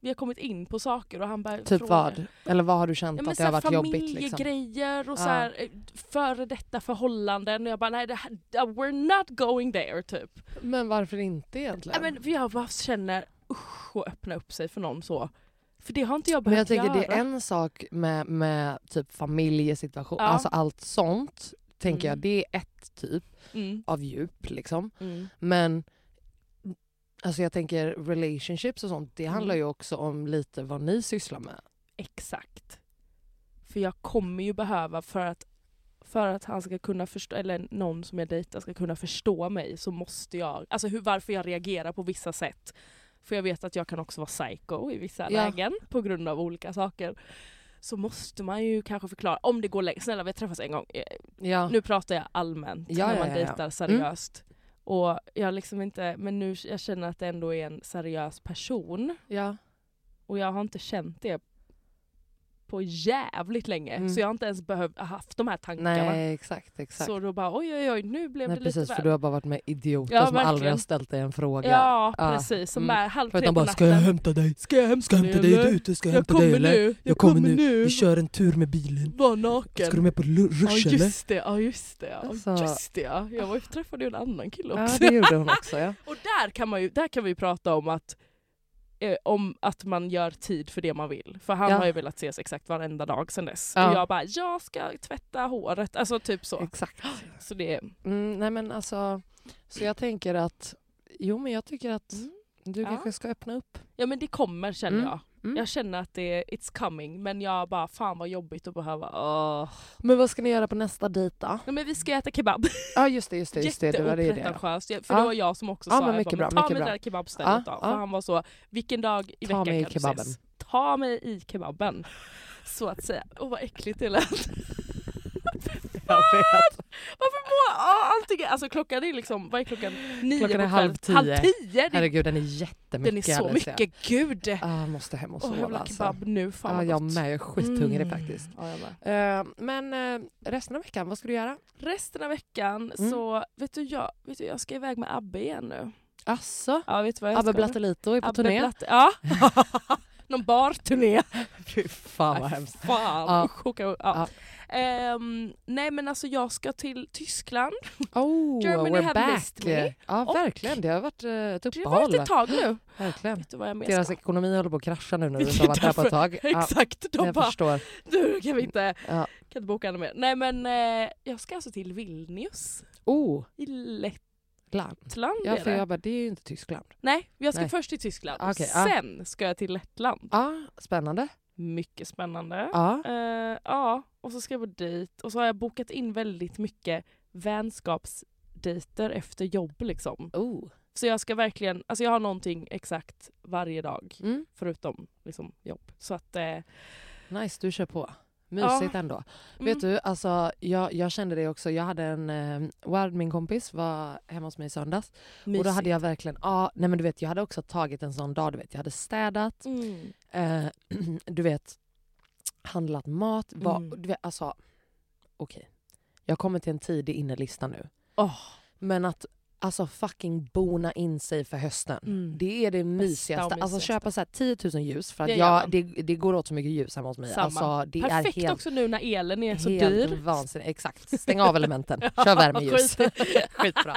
vi har kommit in på saker och han bara in? Typ vad? Eller vad har du känt Ja, men att det har så här varit jobbigt? Liksom? familjegrejer och Ja. så här, eh, före detta förhållanden och jag bara nej det här, we're not going there typ. Men varför inte egentligen? Nej, men för jag bara känner usch att öppna upp sig för någon så. För det har inte jag Men jag behövt tänker det göra. är en sak med, med typ familjesituation, Ja. alltså allt sånt tänker jag Mm. det är ett typ Mm, av djup liksom. mm, Men alltså jag tänker relationships och sånt det handlar Mm. ju också om lite vad ni sysslar med. exakt. För jag kommer ju behöva för att för att han ska kunna förstå, eller någon som jag dejtar ska kunna förstå mig så måste jag, alltså hur, varför jag reagerar på vissa sätt. För jag vet att jag kan också vara psycho i vissa Ja. lägen på grund av olika saker. Så måste man ju kanske förklara, om det går längre, snälla vi har träffats en gång, Eh, Ja. nu pratar jag allmänt Ja, när ja, Mm. man ja, ja. dejtar seriöst. Och jag liksom inte, men nu jag känner att det ändå är en seriös person. ja. Och jag har inte känt det på jävligt länge. Mm. Så jag har inte ens behövt haft de här tankarna. Nej exakt exakt. Så då bara oj oj oj nu blev Nej, det precis lite för du har bara varit med idioter Ja, som aldrig har verkligen. ställt dig en fråga. Ja precis, som Mm. bara halv För tre att på de bara natten. “ska jag hämta dig? Ska jag hämta Ska jag hämta dig? Du är ute, ska jag Jag hämta dig kommer eller? nu, Jag kommer nu, vi kör en tur med bilen. Var naken. Ska du med på lu- Ja rush eller?” just det, ja just det. Ja, Alltså. just det ja. Jag var, träffade ju en annan kille också. Ja det gjorde hon också ja. Och där kan, man ju, där kan vi ju prata om att, eh, om att man gör tid för det man vill. För han Ja. har ju velat ses exakt varenda dag sedan dess. Ja. Och jag bara, jag ska tvätta håret. Alltså typ så. Exakt. Så det är... Mm, nej men alltså, så jag tänker att, jo men jag tycker att du Mm. Ja. kanske ska öppna upp. Ja men det kommer känner Mm. jag. Mm. Jag känner att det it's coming men jag bara fan vad jobbigt att behöva åh. Men vad ska ni göra på nästa dejt då? Ja, men vi ska äta kebab. Ja just det, just det, just det, det var det. det. Jätteopretentiöst. Jag- För Ja. det var jag som också Ja, sa men jag mycket bara, bra, ta mycket mig till det bra. här kebabstället Ja, då. ja. För han var så, vilken dag i Ta veckan mig i kan du kebaben. ses? Ta mig i kebaben. Så att säga. Åh vad äckligt det lät. Jag vet. Varför mår åh, allting, alltså klockan är liksom, vad är klockan? Nio Klockan är på halv kvällen. Halv tio. tio! Det, Herregud den är den är jättemycket. så alldeles, ja. mycket, gud! Åh Ah, jag måste hem och sova jävla alltså. kebab nu, fan Ja, vad jag gott. med, jag är skithungrig Mm. faktiskt. Ja, jag med. Eh, men eh, resten av veckan, vad ska du göra? Resten av veckan Mm. så, vet du, jag, vet du jag ska iväg med Abbe igen nu. Asså? Ja vet du vad jag Alltså, Abbe ska? Blattelito är på turné. Blatt- ja. Någon barturné. Fy fan vad Nej, hemskt. Fan. Ja. Usch, åka- ja. Ja. Ehm, nej men alltså jag ska till Tyskland. Oh, Germany we're had back! missed me. Ja Och- verkligen, det har varit eh, ett Det har varit uppehåll. ett tag nu. Verkligen. Vet du vad jag menar? Deras ekonomi håller på att krascha nu när du inte har varit här på ett tag. Ja, Exakt, de jag bara förstår. du kan vi inte, Ja. kan inte boka henne mer. Nej men eh, jag ska alltså till Vilnius Oh, i Lettland land. är Ja, det. för jag bara, Mm, det är ju inte Tyskland. Nej, jag ska Nej. Ah, först till Tyskland. Okej, ja. Sen ska jag till Lettland. Ja, spännande. Mycket spännande. Ja. Eh, ja, och så ska jag på dejt och så har jag bokat in väldigt mycket vänskapsdejter efter jobb liksom. Oh. Så jag ska verkligen, alltså jag har någonting exakt varje dag Mm. förutom liksom jobb. Så att, eh, Nice, du kör på. Mysigt ändå. mm, Vet du, alltså, jag, jag kände det också. Jag hade en... Eh, Ward, min kompis, var hemma hos mig i söndags. Och då hade jag verkligen... Ah, nej, men du vet, jag hade också tagit en sån dag. Du vet, jag hade städat. mysigt. Mm. eh, du vet, handlat mat. Var, Mm. du vet, alltså, okej. Jag kommer till en tidig innerlista nu. Åh. Men att alltså fucking bona in sig för hösten. Mm. Det är det och mysigaste. Alltså mysigaste. köpa så här 10 000 ljus för att Det det, gör jag, man. det, det går åt så mycket ljus hemma hos mig. Samma. Alltså, det Perfekt är helt, också nu när elen är så helt dyr. vansinnigt. Exakt. Stäng av elementen. Kör värmeljus. Skit. Skitbra.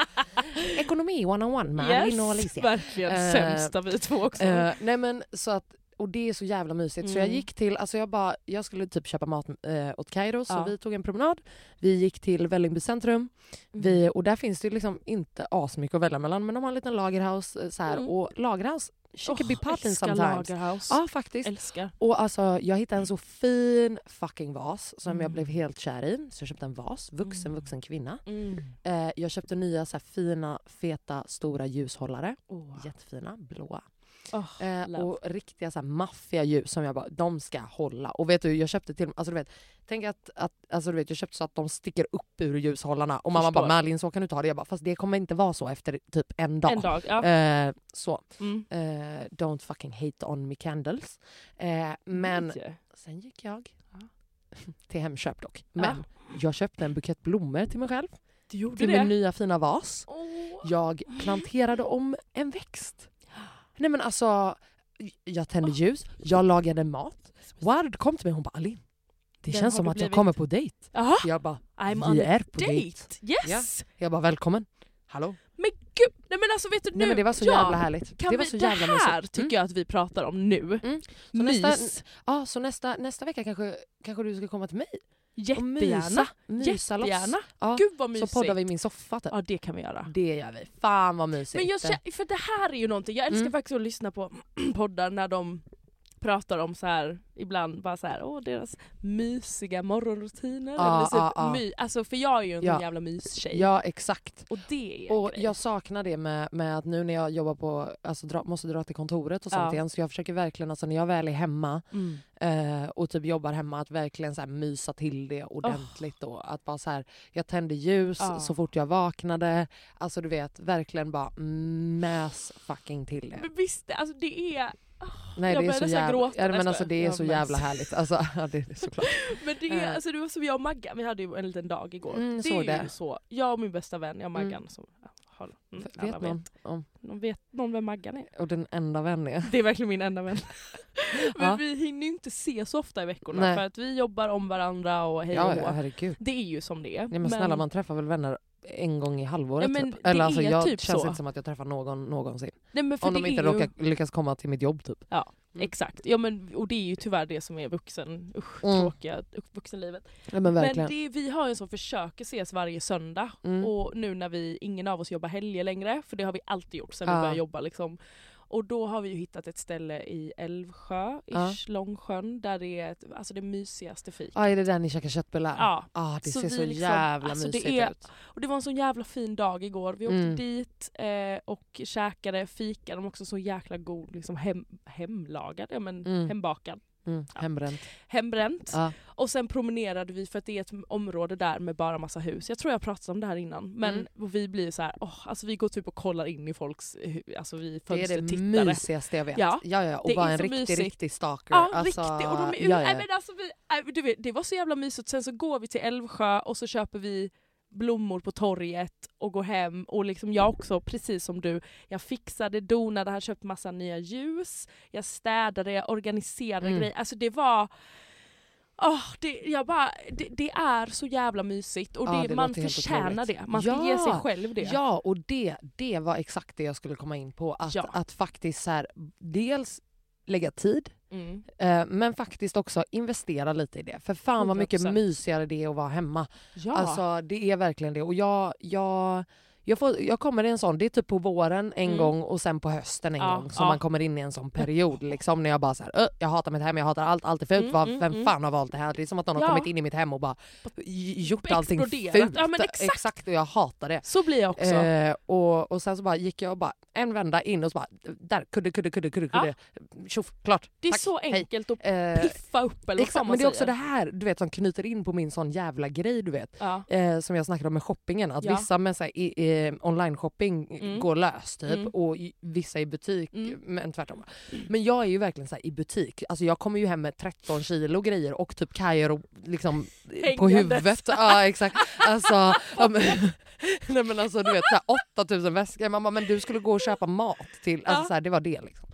Ekonomi 101 man. In och yes, Alicia. verkligen Eh, sämsta vi två också. Eh, nej men så att, och det är så jävla mysigt. Så Liksom. jag Mm. gick till, alltså jag bara, jag skulle typ köpa mat eh, åt Kairo så Ja. vi tog en promenad. Vi gick till Vällingby centrum Mm. vi, och där finns det ju liksom inte asmycket att välja mellan men de har en liten lagerhouse eh, så här, Mm. och lagerhouse, she can be Åh, popping älskar sometimes. Lagerhaus. Ja faktiskt. Älskar. Och alltså jag hittade en så fin fucking vas som jag Mm. blev helt kär i. Så jag köpte en vas, vuxen Mm. vuxen kvinna. Mm. Eh, jag köpte nya så här, fina feta stora ljushållare, Åh. jättefina blåa. Åh, Eh, love. och riktiga så här maffiga ljus som jag bara, de ska hålla. Och vet du, jag köpte till alltså du vet, tänk att, att alltså du vet, jag köpte så att de sticker upp ur ljushållarna. Och mamma Förstår. bara, Malin så kan du inte ha det. Jag bara, fast det kommer inte vara så efter typ en dag. En dag, ja. Eh, så, Mm. eh, don't fucking hate on me candles. Eh, Mm, men Nej. sen gick jag till Hemköp dock. Men jag köpte en bukett blommor till mig själv, Du gjorde till det? min nya fina vas. Åh. Jag planterade om en växt. Nej men alltså, jag tände ljus, jag lagade mat. Ward kom till mig och hon bara Alin, det Vem känns har som du att jag blivit?" kommer på dejt. Jaha, Jag bara, I'm vi on är på date! dejt. Yes! Jag bara välkommen. Hallå? Men gud! Nej men alltså vet du nu, Nej men det var så ja, jävla härligt. Kan det var vi, så jävla det här Typ mysigt. tycker jag att vi pratar om nu. Mm. Så Mys. nästa- Ja, så nästa, nästa vecka kanske, kanske du ska komma till mig och mysa. Jättegärna. mysa Mm. loss. Jättegärna. Ja, Gud vad så mysigt. poddar vi i min soffa typ. Ja det kan vi göra. Det gör vi. Fan vad mysigt. Men jag känner, för det här är ju någonting, jag älskar Mm. faktiskt att lyssna på poddar när de pratar om så här ibland bara så här, åh deras mysiga morgonrutiner. Ja, eller typ ja, ja. My, alltså för jag är ju en Ja. sån jävla mystjej. Ja exakt. Och det är en Och grej. jag saknar det med, med att nu när jag jobbar på, alltså dra, måste dra till kontoret och sånt Ja. igen så jag försöker verkligen alltså när jag väl är hemma Mm. eh, och typ jobbar hemma att verkligen så här mysa till det ordentligt då. Att bara så här, jag tände ljus Ja. så fort jag vaknade. Alltså du vet verkligen bara mäs fucking till det. Men visst, alltså det är, Nej, det jag är börjar så nästan jävla, gråta. ja, Nej, men alltså jag det är skojar. så Ja, men- jävla härligt. Alltså, ja, det är såklart. men det är, Eh. alltså det var som jag och Maggan, vi hade ju en liten dag igår. Mm, det såg är det. ju så, jag och min bästa vän, jag och Maggan Mm. som, ja, har, mm, F- alla Vet man om, Någon vet någon vem Maggan är? och den enda vän är. Det är verkligen min enda vän. Men Ja. vi hinner ju inte se så ofta i veckorna Nej. för att vi jobbar om varandra och hej och Ja, ja, hå. herregud. Det är ju som det är. Nej, men snälla man träffar väl vänner en gång i halvåret Ja, men typ. det Eller alltså är jag typ känns så. inte som att jag träffar någon någonsin. nej, men för Om de det inte är ju, råkar, lyckas komma till mitt jobb typ. Mm. Exakt, ja, men, och det är ju tyvärr det som är vuxen, usch, Mm. tråkiga vuxenlivet. Nej, men Men verkligen. det, vi har ju så försöker ses varje söndag Mm. och nu när vi, ingen av oss jobbar helger längre, för det har vi alltid gjort sedan Ja. vi började jobba liksom. Och då har vi ju hittat ett ställe i Älvsjö, Ja. ish, Långsjön, där det är ett, alltså det mysigaste fik. Ah, är det där ni käkar köttbullar? Ja. Ah, det Så ser vi så liksom- jävla alltså, det mysigt är- ut. Och det var en sån jävla fin dag igår. Vi åkte Mm. dit eh, och käkade fika. De var också så jäkla god, liksom hem, hemlagad, ja, men Mm. hembakad, Mm, Ja. Hembränt. hembränt. Ja. Och sen promenerade vi för att det är ett område där med bara massa hus. Jag tror jag pratat om det här innan. Men Mm. och vi blir så här, åh, alltså vi går typ och kollar in i folks hu- alltså vi Det är det fönstertittare. mysigaste jag vet. Ja. Ja. Ja, ja, och Det bara är en så riktig, mysigt. riktig stalker. Ja, Alltså, riktigt. Och de är ja, Nej, ja. men alltså, vi, nej, du vet, det var så jävla mysigt. Sen så går vi till Älvsjö och så köper vi blommor på torget och går hem. Och liksom jag också, precis som du, jag fixade, donade, hade köpt massa nya ljus. Jag städade, jag organiserade Mm. grejer. Alltså det var... åh det, jag bara, det, det är så jävla mysigt och Ja, det, det man låter helt förtjänar otroligt. det. Man ska Ja. ge sig själv det. Ja, och det, det var exakt det jag skulle komma in på. Att, Ja. att faktiskt så här, dels lägga tid Mm. Eh, Men faktiskt också investera lite i det. För fan vad mycket 100%. mysigare det är att vara hemma. ja. Alltså det är verkligen det. Och jag, jag, jag, får, jag kommer i en sån, det är typ på våren en Mm. gång och sen på hösten en Ja, gång som ja. man kommer in i en sån period liksom när jag bara såhär, "Ö, jag hatar mitt hem, jag hatar allt, allt är fult, Mm, Typ, Vad- mm, vem mm. fan har valt det här? Det är som att någon Ja. har kommit in i mitt hem och bara j- gjort allting Exploderat. fult. Ja, men exakt. och jag hatar det. så blir jag också. Eh, och, och sen så bara gick jag och bara en vända in och så bara där kudde kudde kudde kudde Ja. kudde tjoff klart. det är Tack, så hej. enkelt att Eh, piffa upp eller vad Exakt, fan man men det är också säger. det här du vet, som knyter in på min sån jävla grej du vet. Ja. Eh, som jag snackade om med shoppingen, att Ja. vissa med så här, i, eh, online-shopping Mm. går lös typ Mm. och i, vissa i butik, Mm. men tvärtom. Men jag är ju verkligen så här, i butik, alltså jag kommer ju hem med 13 kilo grejer och typ kajer och liksom eh, på Hängandes. huvudet. Ja exakt. Alltså, ja, men, nej men alltså du vet så här, 8000 väskor, mamma men du skulle gå och köpa mat till, alltså Ja. så här, det var det liksom.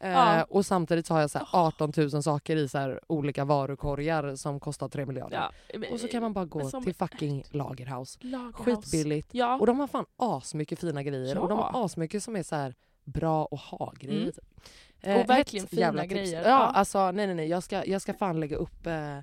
Eh, Ja. Och samtidigt så har jag så här 18 000 saker i så här olika varukorgar som kostar 3 miljarder. Ja. Och så kan man bara gå Men som- till fucking Lagerhaus. Lagerhaus. Skitbilligt. Ja. Och de har fan asmycket fina grejer. Och de har Ja. asmycket som är så här bra att ha-grejer. Mm. typ. Eh, Och verkligen hett fina jävla tips. grejer. Ja, Ja. alltså nej nej nej. Jag ska, jag ska fan lägga upp eh,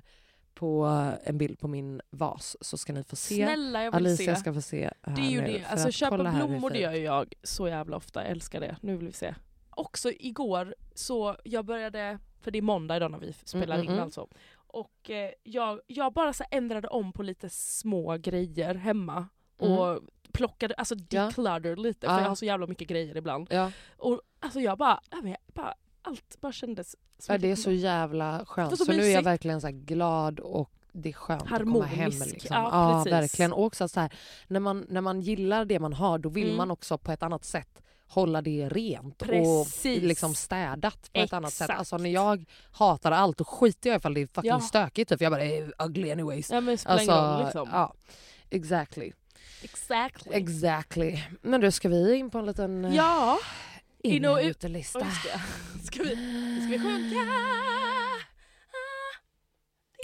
på eh, en bild på min vas så ska ni få se. Snälla jag vill Alicia se. ska få se här det är ju nu. det. för Alltså att köpa kolla här hur blommor det fint. gör ju jag så jävla ofta. Jag älskar det. Nu vill vi se. Också igår så jag började, för det är måndag idag när vi spelar mm, in mm. alltså. Och eh, jag, jag bara så här ändrade om på lite små grejer hemma. Mm. Och plockade, alltså Ja. declutter lite Ja. för jag har så jävla mycket grejer ibland. Ja. Och alltså jag bara, jag vet, bara allt bara kändes Ja, mycket det är så jävla var skönt. Alltså, så Så, nu är jag mysigt. verkligen så här glad och det är skönt att komma hem. Harmonisk. Liksom. Ja, Ja, precis. verkligen. Och också så här, när, man, när man gillar det man har då vill Mm. man också på ett annat sätt hålla det rent Precis. och liksom städat på ett annat sätt. Exakt. Alltså när jag hatar allt då skiter jag ifall det är fucking Ja. stökigt. Typ. Jag bara eh, ugly anyways. Ja men spelar Alltså, ingen roll liksom. ja. Exactly. Exactly. Exactly. Men du ska vi in på en liten eh, ja. in in och och ut. utelista. Oj, ska, ska, vi, ska vi sjunka?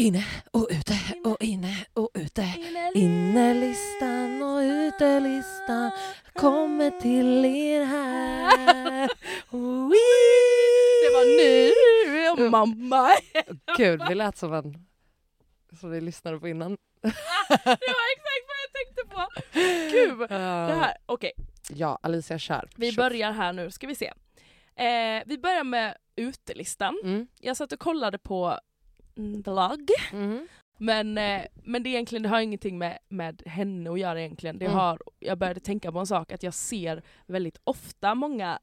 Inne och ute och inne och ute. Innerlig- Innerlistan och utelistan kommer till er här. Det var nu Mm. och mamma. Gud, vi lät som en som vi lyssnade på innan. Det var exakt vad jag tänkte på. Gud. Det här, okej. Ja, Alicia kör. Vi Kör. börjar här nu, ska vi se. Eh, vi börjar med utelistan. Mm. Jag satt och kollade på mm, vlogg, Mm. men, eh, men det, är egentligen, det har ingenting med, med henne att göra egentligen. Det Mm. har, jag började tänka på en sak, att jag ser väldigt ofta många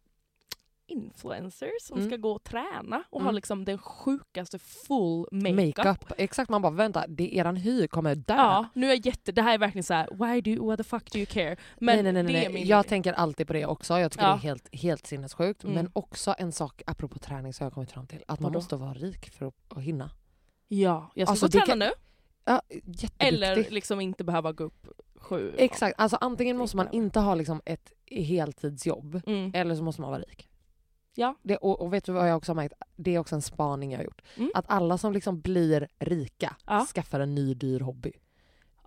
influencers som Mm. ska gå och träna och har Mm. liksom den sjukaste full makeup. Makeup. Exakt, man bara vänta, det är eran hy kommer där. Ja, nu är jag jätte, det här är verkligen så här: why do you, what the fuck do you care? Men nej, nej, nej, nej. det är nej. min... Jag tänker alltid på det också. Jag tycker Ja. det är helt, helt sinnessjukt. Mm. Men också en sak apropå träning som jag har kommit fram till. Att man Vadå? måste vara rik för att, att hinna. ja, jag ska Alltså, gå och det träna kan- nu. Ja, Eller jätteduktig. liksom inte behöva gå upp sju. Exakt, alltså antingen Det måste man kan jag. inte ha liksom ett heltidsjobb Mm. eller så måste man vara rik. Ja. Det, och, och vet du vad jag också har märkt? Det är också en spaning jag har gjort. Mm. Att alla som liksom blir rika Ja. skaffar en ny dyr hobby.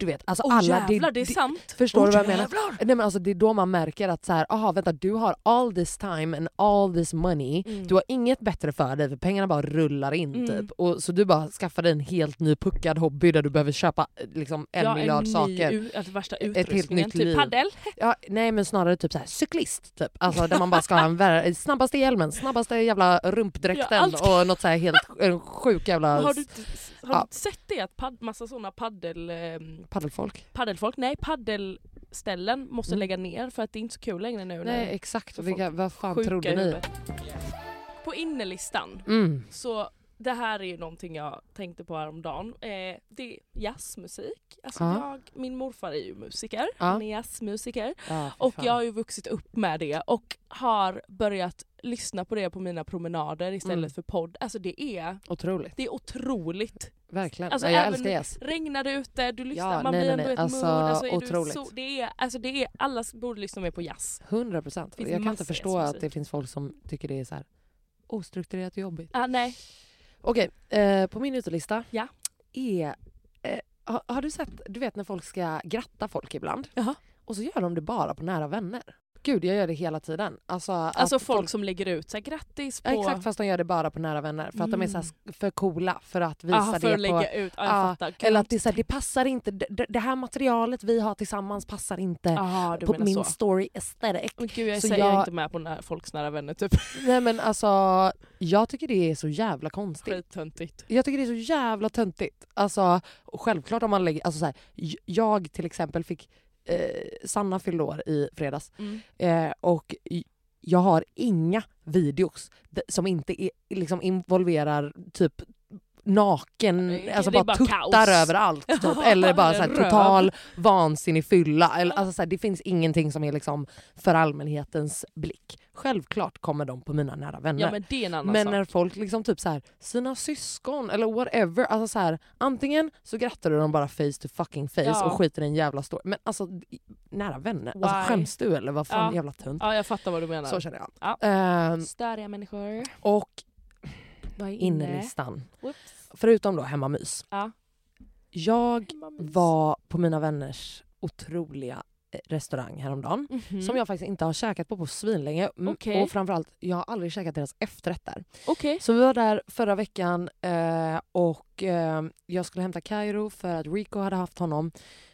Du vet, alltså Åh, alla... jävlar, det är sant. Förstår du Åh, vad jag menar? jävlar. Nej, men alltså, det är då man märker att så här, aha, vänta, du har all this time and all this money. Mm. Du har inget bättre för dig för pengarna bara rullar in. Mm. Typ. Och, så du bara skaffar dig en helt ny puckad hobby där du behöver köpa eh, liksom, en Ja, miljard ny saker. u- alltså, värsta Ett helt utrustningen. nytt typ liv. padel. Ja, nej men snarare typ så här, cyklist, typ. Alltså, där man bara ska ha en vär- snabbaste hjälmen, snabbaste jävla rumpdräkten Ja, allt ska- och något så här helt en sjuk jävla Har du, inte- har du Ja. inte sett det? Att pad, massa sådana paddel, ehm, paddelfolk. paddelfolk, nej paddelställen måste Mm. lägga ner för att det är inte så kul längre nu. Nej när exakt, Så Vilka, vad fan sjuka trodde i ni? huvudet. På innerlistan, Mm. så det här är ju någonting jag tänkte på häromdagen. Eh, det är jazzmusik. Alltså Ja. jag, min morfar är ju musiker, Ja. han är jazzmusiker. Ja, fy Och fan. jag har ju vuxit upp med det och har börjat lyssna på det på mina promenader istället Mm. för podd. Alltså det är, Otroligt, det är otroligt. verkligen. Alltså, nej, jag även- älskar jazz. Regnar det ute, du lyssnar, Ja, man nej, blir ändå nej, i nej. ett Alltså, mood. Alltså, är otroligt. Du så, det är, alltså det är, alla borde lyssna mer på jazz. 100 procent. Finns Jag kan massa inte förstå att jazzmusik. det finns folk som tycker det är så här ostrukturerat och jobbigt. Ah, nej. Okej, eh, på min utelista Ja. är... Eh, har, har du sett, du vet när folk ska gratta folk ibland? Jaha. Och så gör de det bara på nära vänner. Gud, jag gör det hela tiden. Alltså, att Alltså folk, som lägger ut så här, grattis på... Ja, exakt, fast de gör det bara på nära vänner. För att de är så här sk- för coola för att visa Ah, för att det på... lägga ut, ja, jag Ja, fattar. eller att det, är så här, det passar inte, det, det här materialet vi har tillsammans passar inte ah, du på menar min så. story aesthetic. Men gud jag Så säger jag- inte med på när folks nära vänner typ. Nej men alltså, jag tycker det är så jävla konstigt. Skittöntigt. Jag tycker det är så jävla töntigt. Alltså, och självklart om man lägger... Alltså så här, j- jag till exempel fick... Eh, Sanna fyllde år i fredags Mm. eh, och j- jag har inga videos d- som inte är, liksom involverar typ naken, Det är alltså bara bara, tuttar kaos. överallt. Typ. Eller bara så här, Eller röv. total vansinnig fylla. Eller, alltså så här, det finns ingenting som är liksom för allmänhetens blick. Självklart kommer de på mina nära vänner. Ja men det är en annan Men sak. när folk liksom typ så här, sina syskon eller whatever, alltså så här, antingen så grattar du dem bara face to fucking face Ja. och skiter i en jävla story. Men alltså i- nära vänner, Why? alltså, skäms du eller vad fan Ja. jävla tunt. Ja jag fattar vad du menar. Så känner jag. Ja. Ehm, Störiga människor. och Vad är innerlistan, Whoops. förutom då hemmamys. Ja. Jag Hemmamys. var på mina vänners otroliga eh, restaurang häromdagen. Mhm. Som jag faktiskt inte har käkat på på svinlänge. Mm, Okej. Och framförallt, jag har aldrig käkat deras efterrätter. Okej. Så vi var där förra veckan eh, och eh, jag skulle hämta Kairo för att Rico hade haft honom.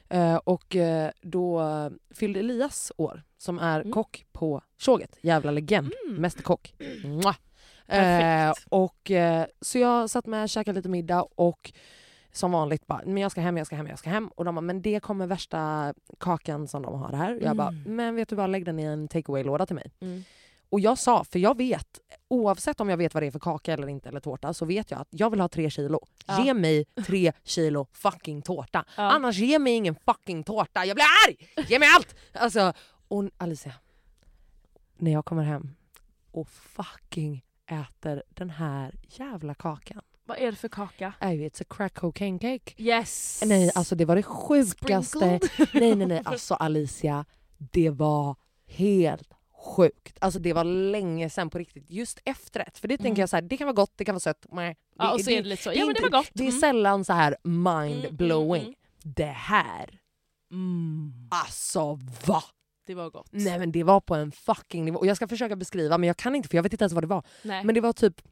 Eh, och eh, då eh, fyllde Elias år, som är Mm. kock på Tjoget. Jävla legend. Mm. Mästerkock. Mwah. Perfekt. eh, och, eh, så jag satt med, käkade lite middag och som vanligt bara, men jag ska hem, jag ska hem, jag ska hem. Och de bara, men det kommer värsta kakan som de har här. Och jag bara, Mm. men vet du vad, lägg den i en takeaway-låda till mig. Mm. Och jag sa, för jag vet, oavsett om jag vet vad det är för kaka eller inte eller tårta, så vet jag att jag vill ha tre kilo. Ja. Ge mig tre kilo fucking tårta. Ja. Annars ge mig ingen fucking tårta. Jag blir arg! Ge mig allt! Alltså, och Alicia, när jag kommer hem och fucking äter den här jävla kakan. Vad är det för kaka? I vet, it's a crack cocaine cake. Yes! Nej, alltså det var det sjukaste. Sprinkled. Nej, nej, nej. Alltså Alicia, det var helt sjukt. Alltså det var länge sedan på riktigt. Just efterrätt. För det tänker jag så här, det kan vara gott, det kan vara sött. meh. Det, Ja, och så är det lite så. Ja, men det inte- var gott. Det är Mm. sällan så här Mm, mind-blowing. mm, mm. Det här, Mm. alltså va? Det var gott. Nej men det var på en fucking nivå. Och jag ska försöka beskriva men jag kan inte för jag vet inte ens vad det var. Nej. Men det var typ,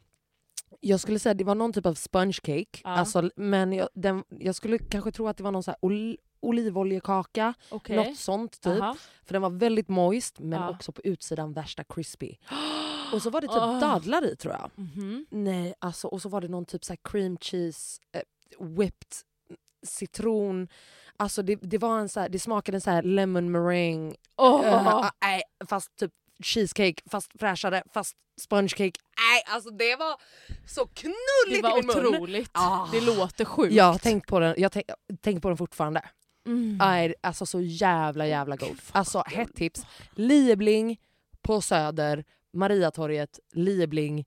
jag skulle säga det var någon typ av sponge cake. Ja. Alltså, men jag, den, jag skulle kanske tro att det var någon så här ol, olivoljekaka, Okej. något sånt typ. Aha. För den var väldigt moist men Ja. också på utsidan värsta crispy. Och så var det typ dadlar i tror jag. Ah. Mhm. Nej, alltså, och så var det någon typ så här cream cheese, eh, whipped citron. Alltså det, det, var en så här, det smakade en så här lemon meringue. Åh. Eh, nej, fast typ cheesecake, fast fräschare, fast spongecake. Nej, alltså det var så knulligt Det var i min mun. otroligt. Ah. Det låter sjukt. Jag har tänkt på den, jag tänk, tänk på den fortfarande. Mm. Aj, alltså så jävla jävla god. Gud, vad Alltså gott. hett tips. Liebling på Söder, Mariatorget, Liebling,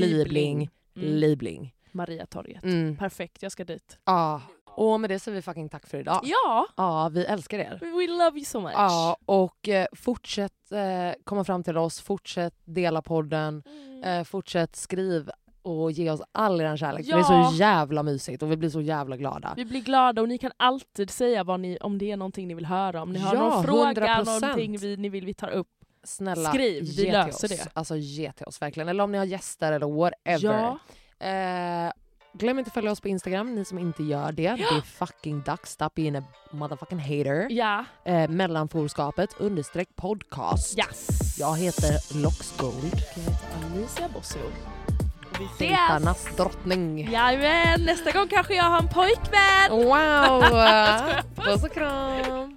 Liebling, Mm. Liebling. Mariatorget. Mm. Perfekt, jag ska dit. Ja, och med det säger vi fucking tack för idag. Ja, Ja, vi älskar er. we love you so much. Ja, och eh, fortsätt eh, komma fram till oss, fortsätt dela podden, Mm. eh, fortsätt skriv och ge oss all er kärlek. för Det är Ja. så jävla mysigt och vi blir så jävla glada. Vi blir glada och ni kan alltid säga vad ni, om det är någonting ni vill höra, om ni har Ja, någon fråga, 100%. någonting vi, ni vill vi tar upp. Snälla, skriv, vi ge till löser oss. det. Alltså ge till oss verkligen. Eller om ni har gäster eller whatever. Ja. Eh, glöm inte att följa oss på Instagram, ni som inte gör det. Det är fucking dags, stop being a motherfucking hater. Ja. Eh, mellanforskapet understreck podcast. Yes. Jag heter Loxgold. Alicia Bosso. Och vi ses! Filtarnas drottning. Jajamän, nästa gång kanske jag har en pojkvän! Wow! Jag skojar. Puss och kram!